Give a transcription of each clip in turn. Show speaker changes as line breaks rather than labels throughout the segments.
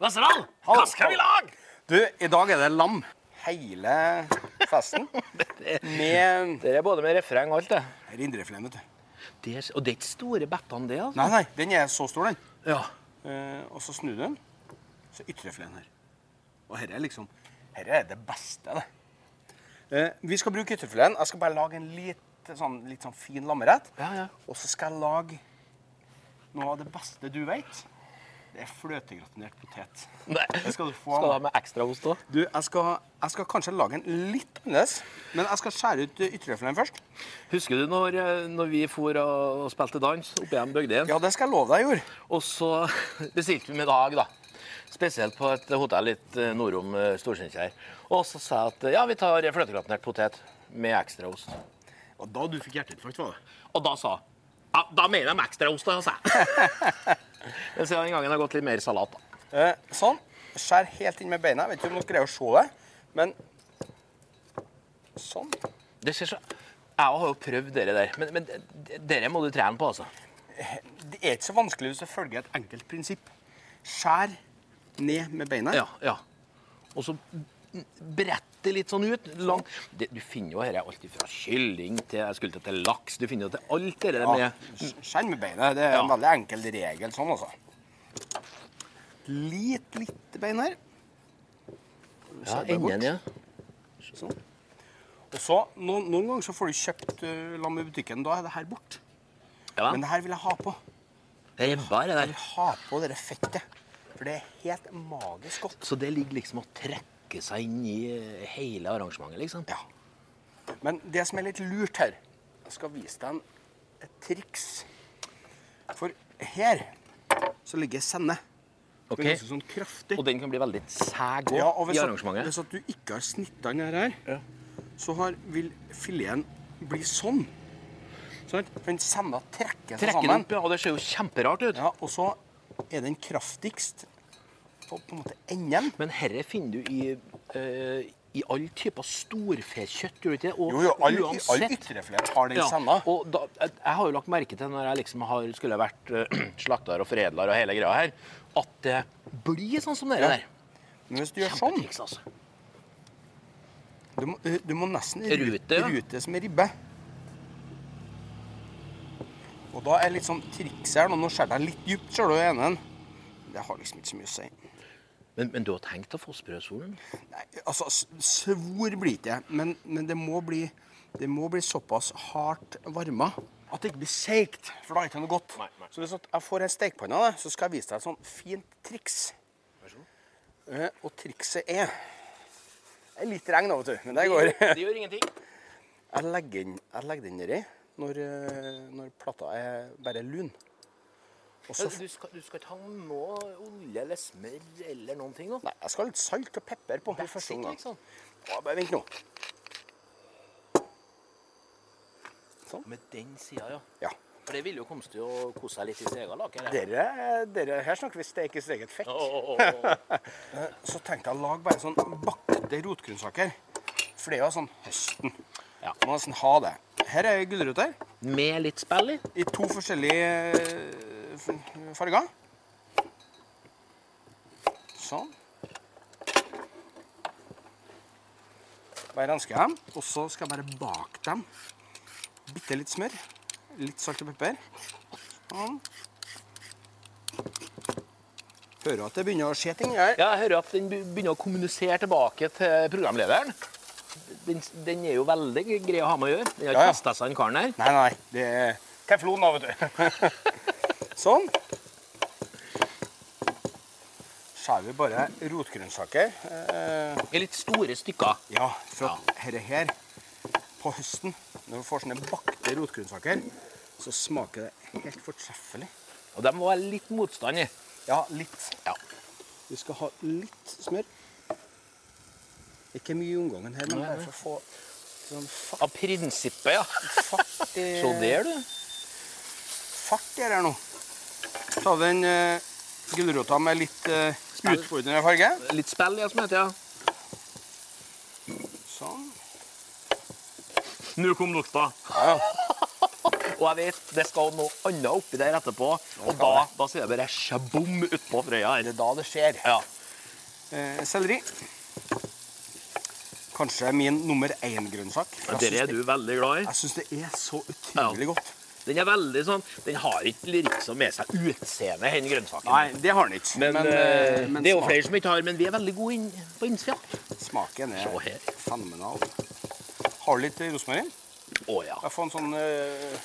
Vasserdal,
Hallo.
hva skal vi lage?
Du, i dag er det lam hele festen. Med
Det er både med refreng og alt, det.
rindrefileten, vet du.
det er, og det er ikke store bettene, det, altså.
Nei, nei, den er så stor, den.
Ja.
Eh, og så snur du den, så er ytrefileten her. Og her er liksom Her er det beste, det. Eh, vi skal bruke ytrefileten. Jeg skal bare lage en litt sånn, litt sånn fin lammerett.
Ja, ja.
Og så skal jeg lage noe av det beste du vet. Det er fløtegratinert potet.
Nei.
Det skal du få.
Skal du ha med ekstraost òg?
Du, jeg skal, jeg skal kanskje lage en litt annerledes, men jeg skal skjære ut eh, ytrefileten først.
Husker du når, eh, når vi for og, og spilte dans oppe igjen Bøgdeien?
Ja, det skal jeg love deg jeg gjorde.
Og så bestilte vi middag, da. Spesielt på et hotell litt eh, nordom eh, Storsteinkjer. Og så sa jeg at eh, ja, vi tar fløtegratinert potet med ekstraost.
Og da du fikk hjerteinfarkt, var det?
Og da sa hun ja, da mener de ekstraost, da, sa jeg. Men siden den gangen har det gått litt mer salat, da.
Eh, sånn. Skjær helt inn med beina. Jeg vet ikke om dere greier å se det, men sånn.
Det ser så... Jeg har jo prøvd dere der, men, men d- dere må du trene på, altså.
Det er ikke så vanskelig hvis du følger et enkelt prinsipp. Skjær ned med beina.
Ja, ja. Og så brett det litt sånn ut. Langt. Det, du finner jo dette alt fra kylling til jeg skulle til- til laks. Du finner jo til alt det der
Ah, Ja,
med
Skjær med beina. Det er en
Ja.
veldig enkel regel sånn, altså. Litt, litt bein her.
ja,
det er godt.
enden, ja.
Sånn. Og så, noen, noen ganger så får du kjøpt eh, lam i butikken. Da er det her bort.
ja.
Men det her vil jeg ha på.
Ribba er det der.
ha på det fettet. For det er helt magisk godt.
Så det ligger liksom og trekker seg inn i eh, hele arrangementet, liksom.
Ja. Men det som er litt lurt her Jeg skal vise deg en, et triks. For her så ligger senne.
Ok.
Men ganske sånn kraftig.
Og den kan bli veldig sæg òg
Ja, og
i
hvis, at,
arrangementet.
hvis at du ikke har snitta den her, så har, vil fileten bli sånn. Sånn, For den senna trekker seg
Trekker den
sammen.
opp, ja. og Det ser jo kjemperart ut.
Ja, og så er den kraftigst på på en måte enden.
Men herre finner du i eh, i all type storfekjøtt, gjør du ikke det? Og
Jo, jo, all, all
uansett-
ytrefilet har den
Ja,
senna.
og da, jeg, jeg har jo lagt merke til når jeg liksom har, skulle ha vært eh, slakter og foredler og hele greia her, at det blir sånn som dere der.
Men hvis du gjør sånn
Kjempetriks, altså.
Du må, eh, du må nesten
Rute, ja.
rute som en ribbe. Og da er litt sånn triks her. nå. Nå skjærer jeg litt dypt, ser du, i enden. Det har liksom ikke så mye å si.
Men, men du har tenkt å få sprøsolen?
Nei, altså, s- svor blir det ikke, men, men det, må bli, det må bli såpass hardt varma at det ikke blir seigt, for da er det ikke noe godt. Så hvis at jeg får en stekepanne, da, så skal jeg vise deg et sånt fint triks. Eh, og trikset er Det er litt regn nå, vet du, men det går.
Det gjør ingenting.
Jeg legger den, jeg legger den nedi når, eh, når plata er bare lun. Og så, f-
Du skal, du skal ikke ha noe olje eller smør eller noen ting? Nå.
nei, jeg skal ha litt salt og pepper på i første
Sikkert,
omgang.
liksom.
Ja, Bare vent nå.
Med den sida, ja.
Ja.
For det ville jo kommet til å kose seg litt i seg av laket. eller?
Dere, dere, her snakker vi stekes eget
Å,
fett.
å, å, å.
Så tenkte jeg å lage bare sånn bakte rotgrønnsaker. For det er jo sånn høsten.
Ja.
Man må nesten ha det. Her er gulrøtter
Med litt spill i.
i to forskjellige eh, f- farger. Sånn. Bare rensker jeg dem, og så skal jeg bare bake dem. Bitte litt smør, litt salt og pepper. Sånn. Hører at det begynner å skje ting her.
Ja, jeg hører at den be- begynner å kommunisere tilbake til programlederen. Den, den er jo veldig grei å ha med å gjøre. Den har
Ja,
ikke
ja.
kastet seg, den karen her.
Nei, nei, det er teflon da, vet du. sånn. Skjærer vi bare rotgrønnsaker. Eh,
I litt store stykker.
ja, for at herre her på høsten, når du får sånne bakte rotgrønnsaker, så smaker det helt fortreffelig.
Og de var litt motstand i.
Ja, litt.
Ja.
Vi skal ha litt smør. Ikke mye i omgangen her, men bare for å få sånn fart,
Av prinsippet, ja.
fart i
Så der, du.
fart i det her nå. Ta den uh, gulrota med litt eh, utfordrende farge.
Litt spill, ja, som heter ja.
Sånn.
Nå kom lukta.
Og jeg vet, det skal noe annet oppi der etterpå. Og da, da sier det bare shabom utpå Frøya her.
Det er da det skjer.
Ja.
Eh, selleri. Kanskje min nummer én-grønnsak. for jeg
Den
syns
er
det-
du veldig glad i.
Jeg syns det er så utrolig godt.
Den er veldig sånn, den har ikke liksom med seg utseende, den grønnsaken.
Nei, det har den ikke.
Men,
eh,
eh,
men
det er jo
smak-
flere som ikke har, men vi er veldig gode inn, på innsida.
smaken
Se
er
her.
fenomenal. Har du litt rosmarin?
Å ja.
Jeg får en sånn eh,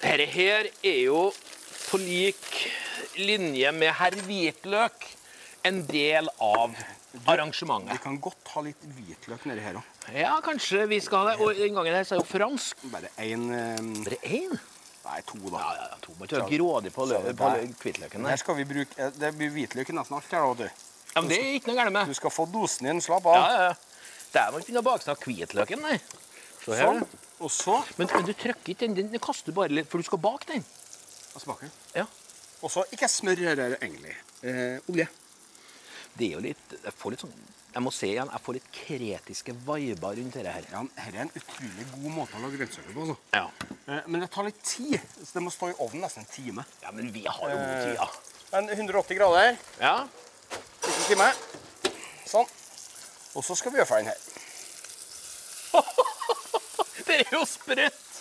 Dette her er jo på lik linje med herr hvitløk en del av
Vi
arrangementet.
kan godt ha litt hvitløk nedi her òg.
Ja, kanskje vi skal ha det. Og den gangen her så er jo fransk.
Bare én eh,
Bare én?
Nei, to, da.
Ja, ja, ja. To må ikke være grådig på, lø på lø hvitløken.
Her
der.
skal vi bruke eh, Det blir hvitløk i nesten alt her, da, vet du.
Ja, men det er ikke noe gærent med.
Du skal få dosen din. Slapp
Ja,
av.
ja, ja. Der må vi ikke begynne å baksnakke hvitløken, nei. Se her.
sånn. Og så
Men, men du trykker ikke den, den den kaster du bare litt, for du skal bake den.
Hva smaker den?
Ja.
Og så ikke smør her, her, egentlig. Eh, olje.
Det er jo litt Jeg får litt sånn Jeg må se igjen, jeg får litt kretiske viber rundt dette her.
Ja, men Dette er en utrolig god måte å lage grønnsaker på. altså.
Ja.
Eh, men det tar litt tid, så det må stå i ovnen nesten en time.
ja, men vi har jo god tid, da.
Men 180 grader,
Ja.
liten time. Sånn. Og så skal vi gjøre ferdig den her.
Det er jo sprøtt!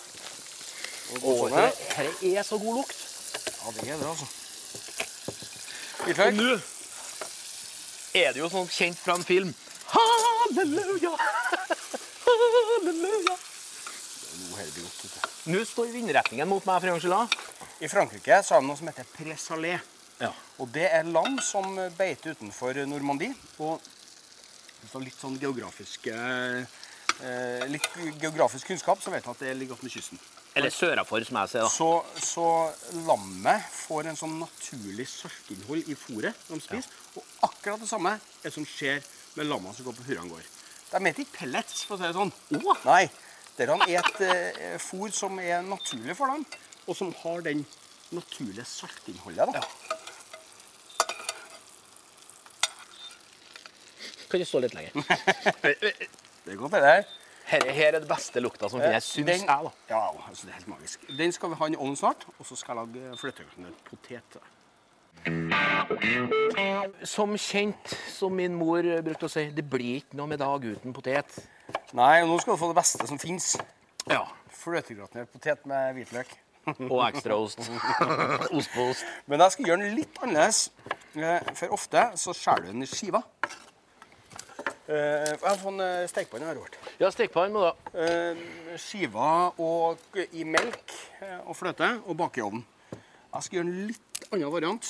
Å,
Og
det her er så god lukt.
Ja, det er det, altså.
Og
Hvitløk.
nå er det jo sånn kjent fra en film. Halleluja! Halleluja!
Nå er det godt, vet du.
Nå står vindretningen mot meg for en gangs skyld. da.
I Frankrike så har de noe som heter présalé.
Ja.
Og det er lam som beiter utenfor Normandie. Og hvis du har litt sånn geografisk, eh, litt geografisk kunnskap, så vet du at det ligger opp med kysten.
Eller sørafor, som jeg sier. da.
Så, så lammet får en sånn naturlig saltinnhold i fôret de spiser. Og akkurat det samme er det som skjer med lammene som går på Hurran gård. De spiser ikke pellets, for å si det sånn.
Å!
Nei. Dere spiser eh, fôr som er naturlig for dem, og som har den naturlige saltinnholdet. da.
Kan du stå litt lenger?
Det er godt, det der.
Herre her er det beste lukta som finnes, syns
Den-
jeg. da.
Ja, altså, det er helt magisk. Den skal vi ha i ovnen snart, og så skal jeg lage fløtegrøten potet. til deg.
Som kjent, som min mor brukte å si, det blir ikke noe med dag uten potet.
Nei, og nå skal du få det beste som fins.
Ja.
Fløtegratinert potet med hvitløk.
Og ekstra ost. ost på ost.
Men jeg skal gjøre den litt annerledes, eh, for ofte så skjærer du den i skiver. Eh, Jeg har fått en stekepanne her. Robert.
Ja, stekepann må da
Eh, Skiver og k- i melk eh, og fløte og bake i ovnen. Jeg skal gjøre en litt annen variant.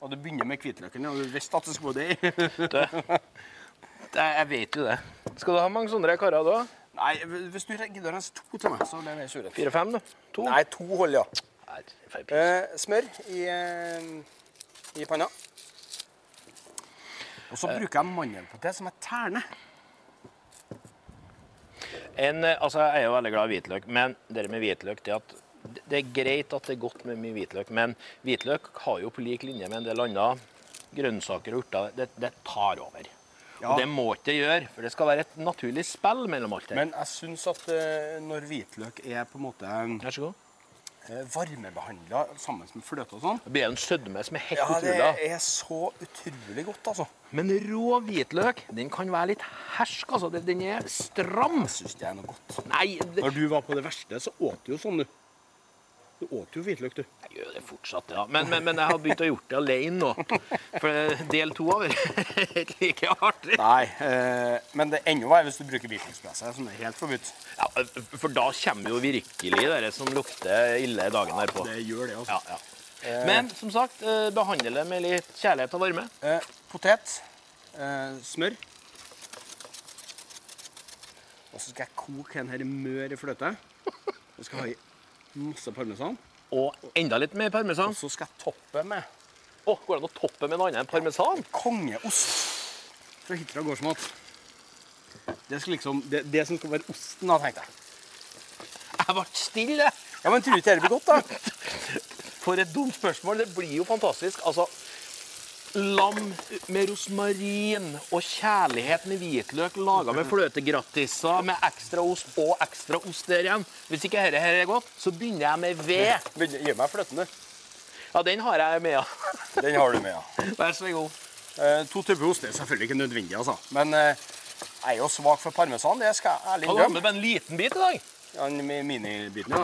Og du begynner med hvitløken. Og du visste at det skulle være det. i.
Det- Jeg vet jo det. Skal du ha mange sånne karer da?
Nei, hvis du gidder å rense to til meg, så blir jeg mer surrett.
Fire-fem? da? To?
Nei, to holder, ja.
Nei, det får jeg pris.
Eh, smør i, eh, i panna. Og så bruker jeg mandelpotet som jeg terner.
En, eh, altså, jeg er jo veldig glad i hvitløk, men det med hvitløk det at det er greit at det er godt med mye hvitløk, men hvitløk har jo på lik linje med en del andre grønnsaker og urter, det, det tar over.
Ja.
Og det må ikke det gjøre, for det skal være et naturlig spill mellom alt det.
Men jeg syns at eh, når hvitløk er på en måte eh,
Vær så god.
varmebehandla sammen med fløte og sånn
Det blir jo en sødme som er helt
Ja, det
utrolig. da.
er så utrolig godt, altså.
Men rå hvitløk den kan være litt hersk. altså. Den- Den er stram.
Syns det er noe godt.
Nei, det
Når du var på det verste, så åt du jo sånn, du. Du åt jo hvitløk, du.
Jeg gjør det fortsatt, ja. Men, men, men jeg har begynt å gjort det alene nå. For eh, del to av det er ikke like artig.
Nei, eh, men det er enda verre hvis du bruker hvitløkspresse, som er helt forbudt.
Ja, for da kommer jo virkelig det som lukter ille dagen derpå.
Det gjør det, altså.
Ja, ja. Men som sagt, eh, behandle det med litt kjærlighet og varme.
Eh, potet, eh, smør. Og så skal jeg koke den her mør i fløte. Så skal jeg ha i masse parmesan.
Og enda litt mer parmesan.
Og så skal jeg toppe med
Å, går det an å toppe med noe annet enn parmesan?
kongeost fra Hitra gårdsmat. Det, skal liksom, det, det som skal være osten, da, tenkte jeg.
Jeg ble stille.
Ja, Men tror du ikke det blir godt, da?
For et dumt spørsmål. Det blir jo fantastisk. Altså, lam med rosmarin og kjærlighet med hvitløk laga med fløtegratisser med ekstra ost og ekstra ost der igjen. Hvis ikke dette her er godt, så begynner jeg med ved.
Gi meg fløten, du.
Ja, den har jeg med, ja.
Den har du med, ja.
Vær så god.
Eh, to typer ost det er selvfølgelig ikke nødvendig, altså. Men eh, jeg er jo svak for parmesan, det skal jeg ærlig
Har du hatt
innrømme.
med bare en liten bit i dag?
Ja, den mi- minibiten, ja.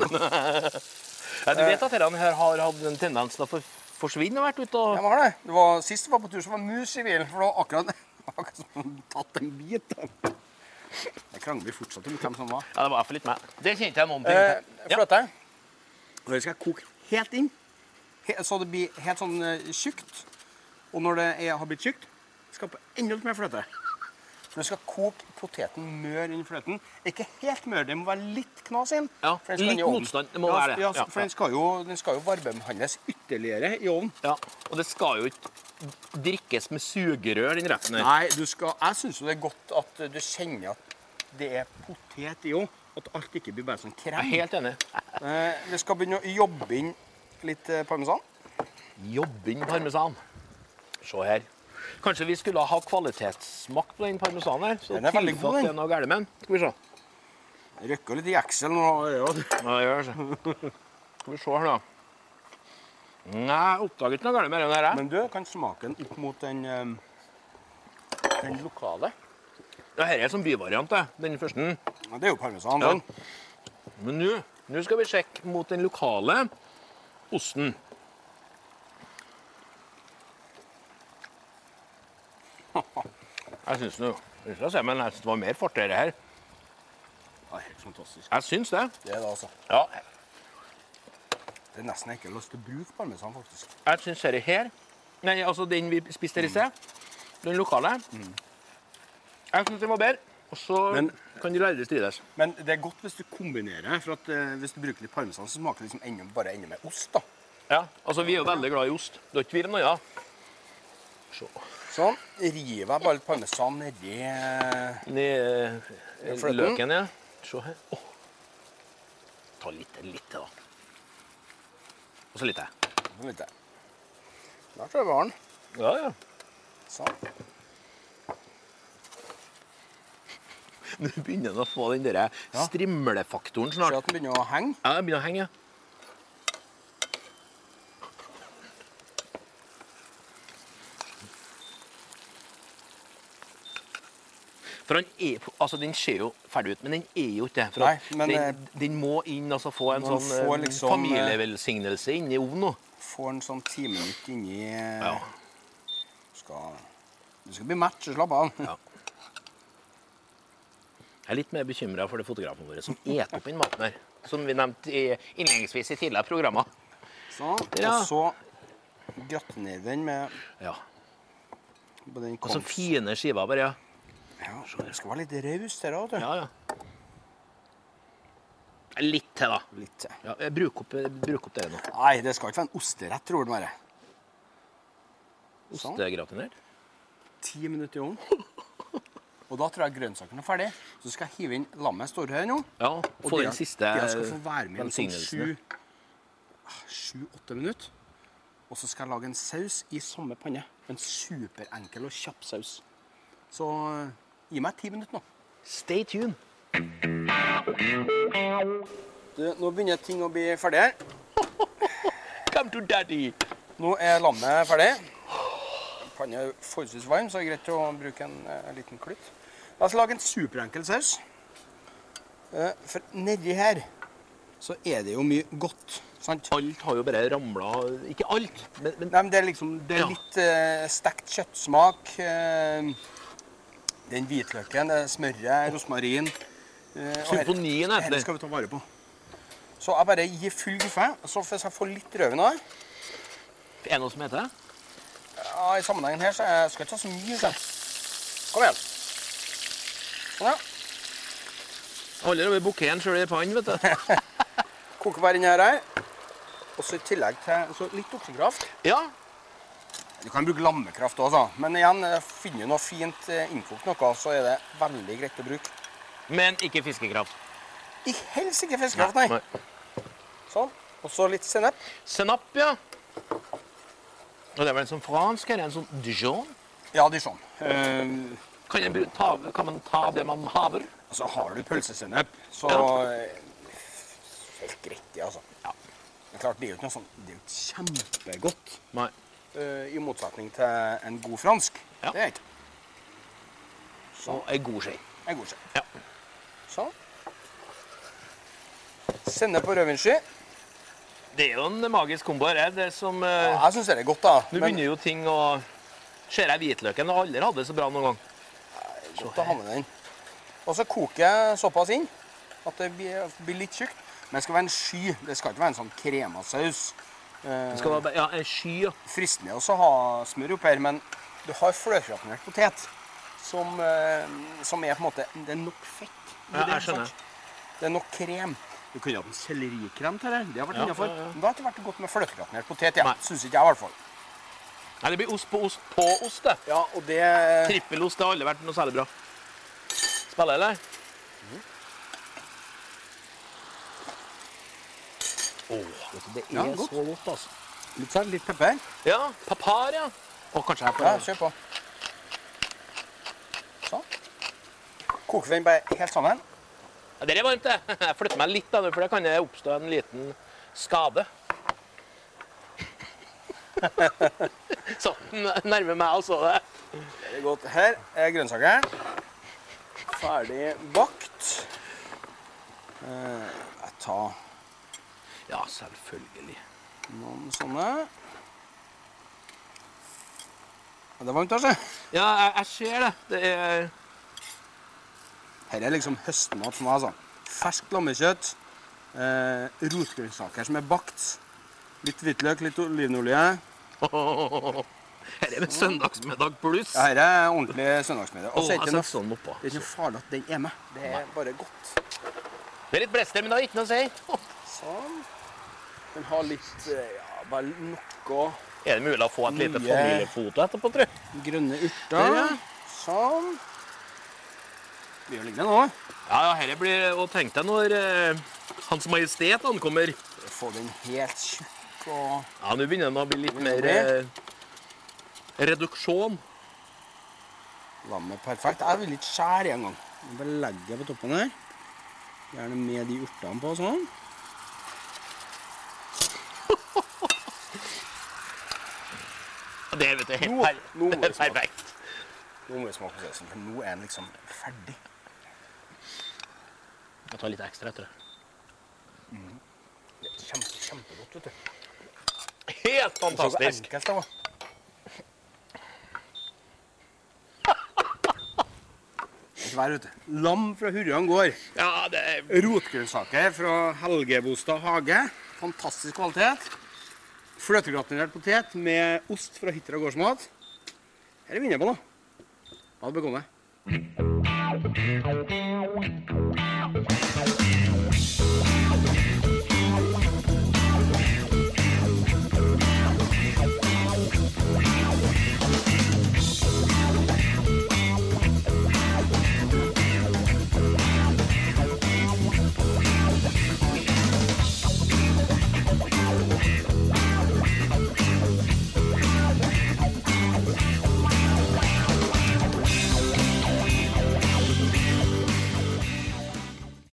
Ja, du vet at dette her har hatt en tendens til å for- forsvinne og vært ute og
Jeg var det. det var, sist jeg var på tur, så var mus i bilen, for det var akkurat, akkurat som om den tatt en bit. Jeg krangler fortsatt om hvem som var.
Ja, det var iallfall litt meg. Det kjente jeg noen ting
Eh,
til. Ja.
fløte. Og det skal jeg koke helt inn, he- så det blir helt sånn eh, tjukt. Og når det er, har blitt tjukt, skal jeg på enda litt mer fløte. For du skal koke poteten mør inn i fløten. Ikke helt mør, det må være litt knas inn.
Ja,
for den skal inn i
litt
ovnen.
motstand, det må
ja,
være det.
Ja,
Ja,
for
ja.
Den, skal jo, den skal jo varmebehandles ytterligere i ovnen.
Ja, og det skal jo ikke drikkes med sugerør, den retten her.
Nei, du skal, jeg syns jo det er godt at du kjenner at det er potet i òg. At alt ikke blir bare sånn
Jeg er
krem.
helt enig.
Eh, vi skal begynne å jobbe inn litt eh, parmesan.
Jobbing parmesan. Se her. Kanskje vi skulle ha kvalitetssmak på den parmesanen her? Så
Den er veldig god,
tilsatt
den.
det er noe gærent med den. Skal vi se.
Røkker litt i jeksel nå. Ja.
Ja, det gjør det. Skal vi se her, da. Nei, jeg oppdaget ikke noe gærent med den her. jeg.
Men du kan smake den opp mot den, eh, den lokale.
Ja, Dette er som byvariant, det. den første.
Ja, det er jo parmesan. sånn.
Ja.
den.
Men nå nå skal vi sjekke mot den lokale osten. Jeg syns nå jeg synes det, ser, men jeg synes det var mer fart i det her.
Ja, helt fantastisk.
Jeg syns det.
Det er det, altså.
Ja,
Det er nesten jeg ikke har lyst til å bruke parmesan, faktisk.
jeg syns dette her Nei, altså den vi spiste her i sted, den lokale Jeg syns den var bedre. Og så
Men-
kan de lærde strides.
Men det er godt hvis du kombinerer. for at eh, Hvis du bruker litt parmesan, så smaker det liksom enda, bare enda mer ost. da.
Ja, altså Vi er jo veldig glad i ost. Det er ikke tvil om noe. Se.
Sånn. River jeg bare litt parmesan nedi eh,
Ned i
fløten.
løken, ja. Se her. Åh. Ta litt, litt til, da. Og så litt til.
litt der. Der tror jeg vi har den.
Ja, ja.
Sånn.
Nå begynner den å få den der strimlefaktoren
Ser
snart.
at den begynner å henge.
Ja, den begynner å henge. ja. For han er, altså Den ser jo ferdig ut, men den er jo ikke det. For
Nei,
at
men,
den, den må inn altså få en
når den
sånn
får
eh,
liksom, eh,
familievelsignelse inn i ovnen. nå.
Får en sånn ti minutter inni eh,
Ja.
skal, Du skal bli mett, så slapp av.
Ja. Jeg er litt mer bekymra for det fotografen vår som eter opp den maten her. Som vi nevnte i- innledningsvis i tidligere programmer.
Sånn.
Ja.
Og så gratinerer vi den med
Ja.
på den
Og så
konf.
fine skiver, bare. Ja,
Ja, det skal være litt raus der òg, vet du.
ja. ja. Litt til, da.
Litt til.
Ja, jeg bruk opp, bruk opp det nå.
Nei, det skal ikke være en osterett, tror jeg det må være. Sånn.
Ostegratinert.
Ti minutter i ovnen. Og da tror jeg grønnsakene er ferdig. Så skal jeg hive inn lammet står her nå.
Ja,
Og
få
det-
den siste
Det skal få være med i en sånn
velsignelsen.
sju ah, Sju-åtte minutter. Og så skal jeg lage en saus i samme panne. En superenkel og kjapp saus. Så eh, gi meg ti minutter nå.
Stay tuned.
Du, nå begynner ting å bli ferdig her.
Come to daddy.
Nå er lammet ferdig. Panna er forholdsvis varm, så det er greit å bruke en eh, liten klytt. La oss lage en superenkel saus. Eh, For nedi her så er det jo mye godt. sant?
Alt har jo bare ramla Ikke alt, men, men
Nei, men det er liksom det er
Ja.
litt eh, stekt kjøttsmak. eh, den hvitløken, det er smøret, rosmarin. eh, og her-
symfonien er
dette
det.
skal vi ta vare på. Så jeg bare gir full guffe. Så hvis jeg får litt rødvin av det
Er det noe som heter det?
Ja, I sammenhengen her så er- skal jeg ikke ha så mye. Så. Kom igjen. Sånn, ja.
Holder over bukeen sjøl i pannen, vet du.
Koker bare inn her. her. Og så i tillegg til så litt oksekraft.
Ja,
Du kan bruke lammekraft òg, men igjen, eh, finner du noe fint eh, innkokt noe, så er det veldig greit å bruke.
Men ikke fiskekraft.
Ikke helst ikke fiskekraft, nei. Sånn. Og så litt sennep.
Sennep, ja. Og det er vel en sånn fransk her, en sånn dijon.
Ja, dijon. Eh,
Kan, jeg bru- ta, kan man ta det man haver?
altså, har du pølsesennep, så
Ja.
eh, Helt greit, det, altså. Det er klart, det er jo ikke noe sånn Det er jo kjempegodt.
Nei.
eh, I motsetning til en god fransk.
Ja.
Det er ikke
Så ei god skje.
en god skje.
Ja.
Sånn. Sennep og rødvinsky.
Eh. Det er jo en magisk kombo her. Det er som eh,
Ja, jeg syns det er godt, da.
Nå begynner jo ting å Ser jeg hvitløken og aldri hadde det så bra noen gang.
Godt å ha med den. Og så koker jeg såpass inn at det blir, altså, blir litt tjukt. Men det skal være en sky. Det skal ikke være en sånn kremasaus. Eh,
Skal være, ja, en sky, ja.
fristende også å ha smør oppi her, men du har fløtekratinert potet som, eh, som er på en måte Det er nok fett. i
Ja,
det,
jeg skjønner.
sant? Det er nok krem. Du kunne hatt en sellerikrem til det. Det har vært
Ja,
innenfor.
ja, ja.
Men det har ikke vært godt med fløtekratinert potet. Ja.
Nei.
Syns ikke jeg, i hvert fall.
Nei, det blir ost på ost på ost, det.
Ja, og det
Trippelost det har aldri vært noe særlig bra. Spiller, eller? Åh, vet du, det er
Ja, godt.
så godt, altså.
Litt salt, litt pepper.
Ja, papar, ja. Og kanskje jeg
Ja,
får
kjør på. Sånn. Koker vi den bare helt sammen.
ja, Det er varmt, det. Jeg flytter meg litt, da, for det kan det oppstå en liten skade. Sånn nærmer meg altså det.
Det er godt. Her er grønnsakeren. Ferdig bakt. Eh, Jeg tar
Ja, selvfølgelig.
noen sånne. Ja, Det er varmt, altså.
Ja, jeg, jeg ser det. Det er
Her er liksom høstmat for meg. altså. Ferskt lammekjøtt. Eh, Rotgrønnsaker som er bakt. Litt hvitløk, litt olivenolje.
Her er det søndagsmiddag pluss.
Ja, Her er ordentlig søndagsmiddag. Og
Åh,
så er
jeg
det
har sett
ikke noe
sånn oppå.
Det er ikke noe farlig at den er med. Det er bare godt.
Det er litt blester, men det har ikke noe å si.
Sånn. Den har litt eh, ja, bare noe
Er det mulig å få et lite
Mye.
familiefoto etterpå, tror jeg?
grønne urter.
Der, ja.
Sånn. Det gjør lignende nå.
Ja, ja, herre blir Og tenk deg når eh, Hans Majestet ankommer.
Få den helt tjukk og
Ja, nå begynner den å bli litt
Begynner
mer
det
eh, reduksjon.
lammet perfekt. Jeg vil ikke skjære engang. Bare legger jeg på toppen her. Gjerne med de urtene på sånn.
Det er sånn. vet du, helt
Nå-
per
nå må det smake.
perfekt.
Nå må vi smake på sausen, for nå er den liksom ferdig.
Jeg tar litt ekstra etter det.
Det er kjempe, kjempegodt, vet du.
Helt
Og så hvor
fantastisk.
enkelt det var. Ikke vær ute. Lam fra Hurran gård.
Ja, det er
Rotgrønnsaker fra Helgebostad hage. Fantastisk kvalitet. Fløtegratinert potet med ost fra Hitra gårdsmat. Her er vi inne på noe. Ja, det bør komme.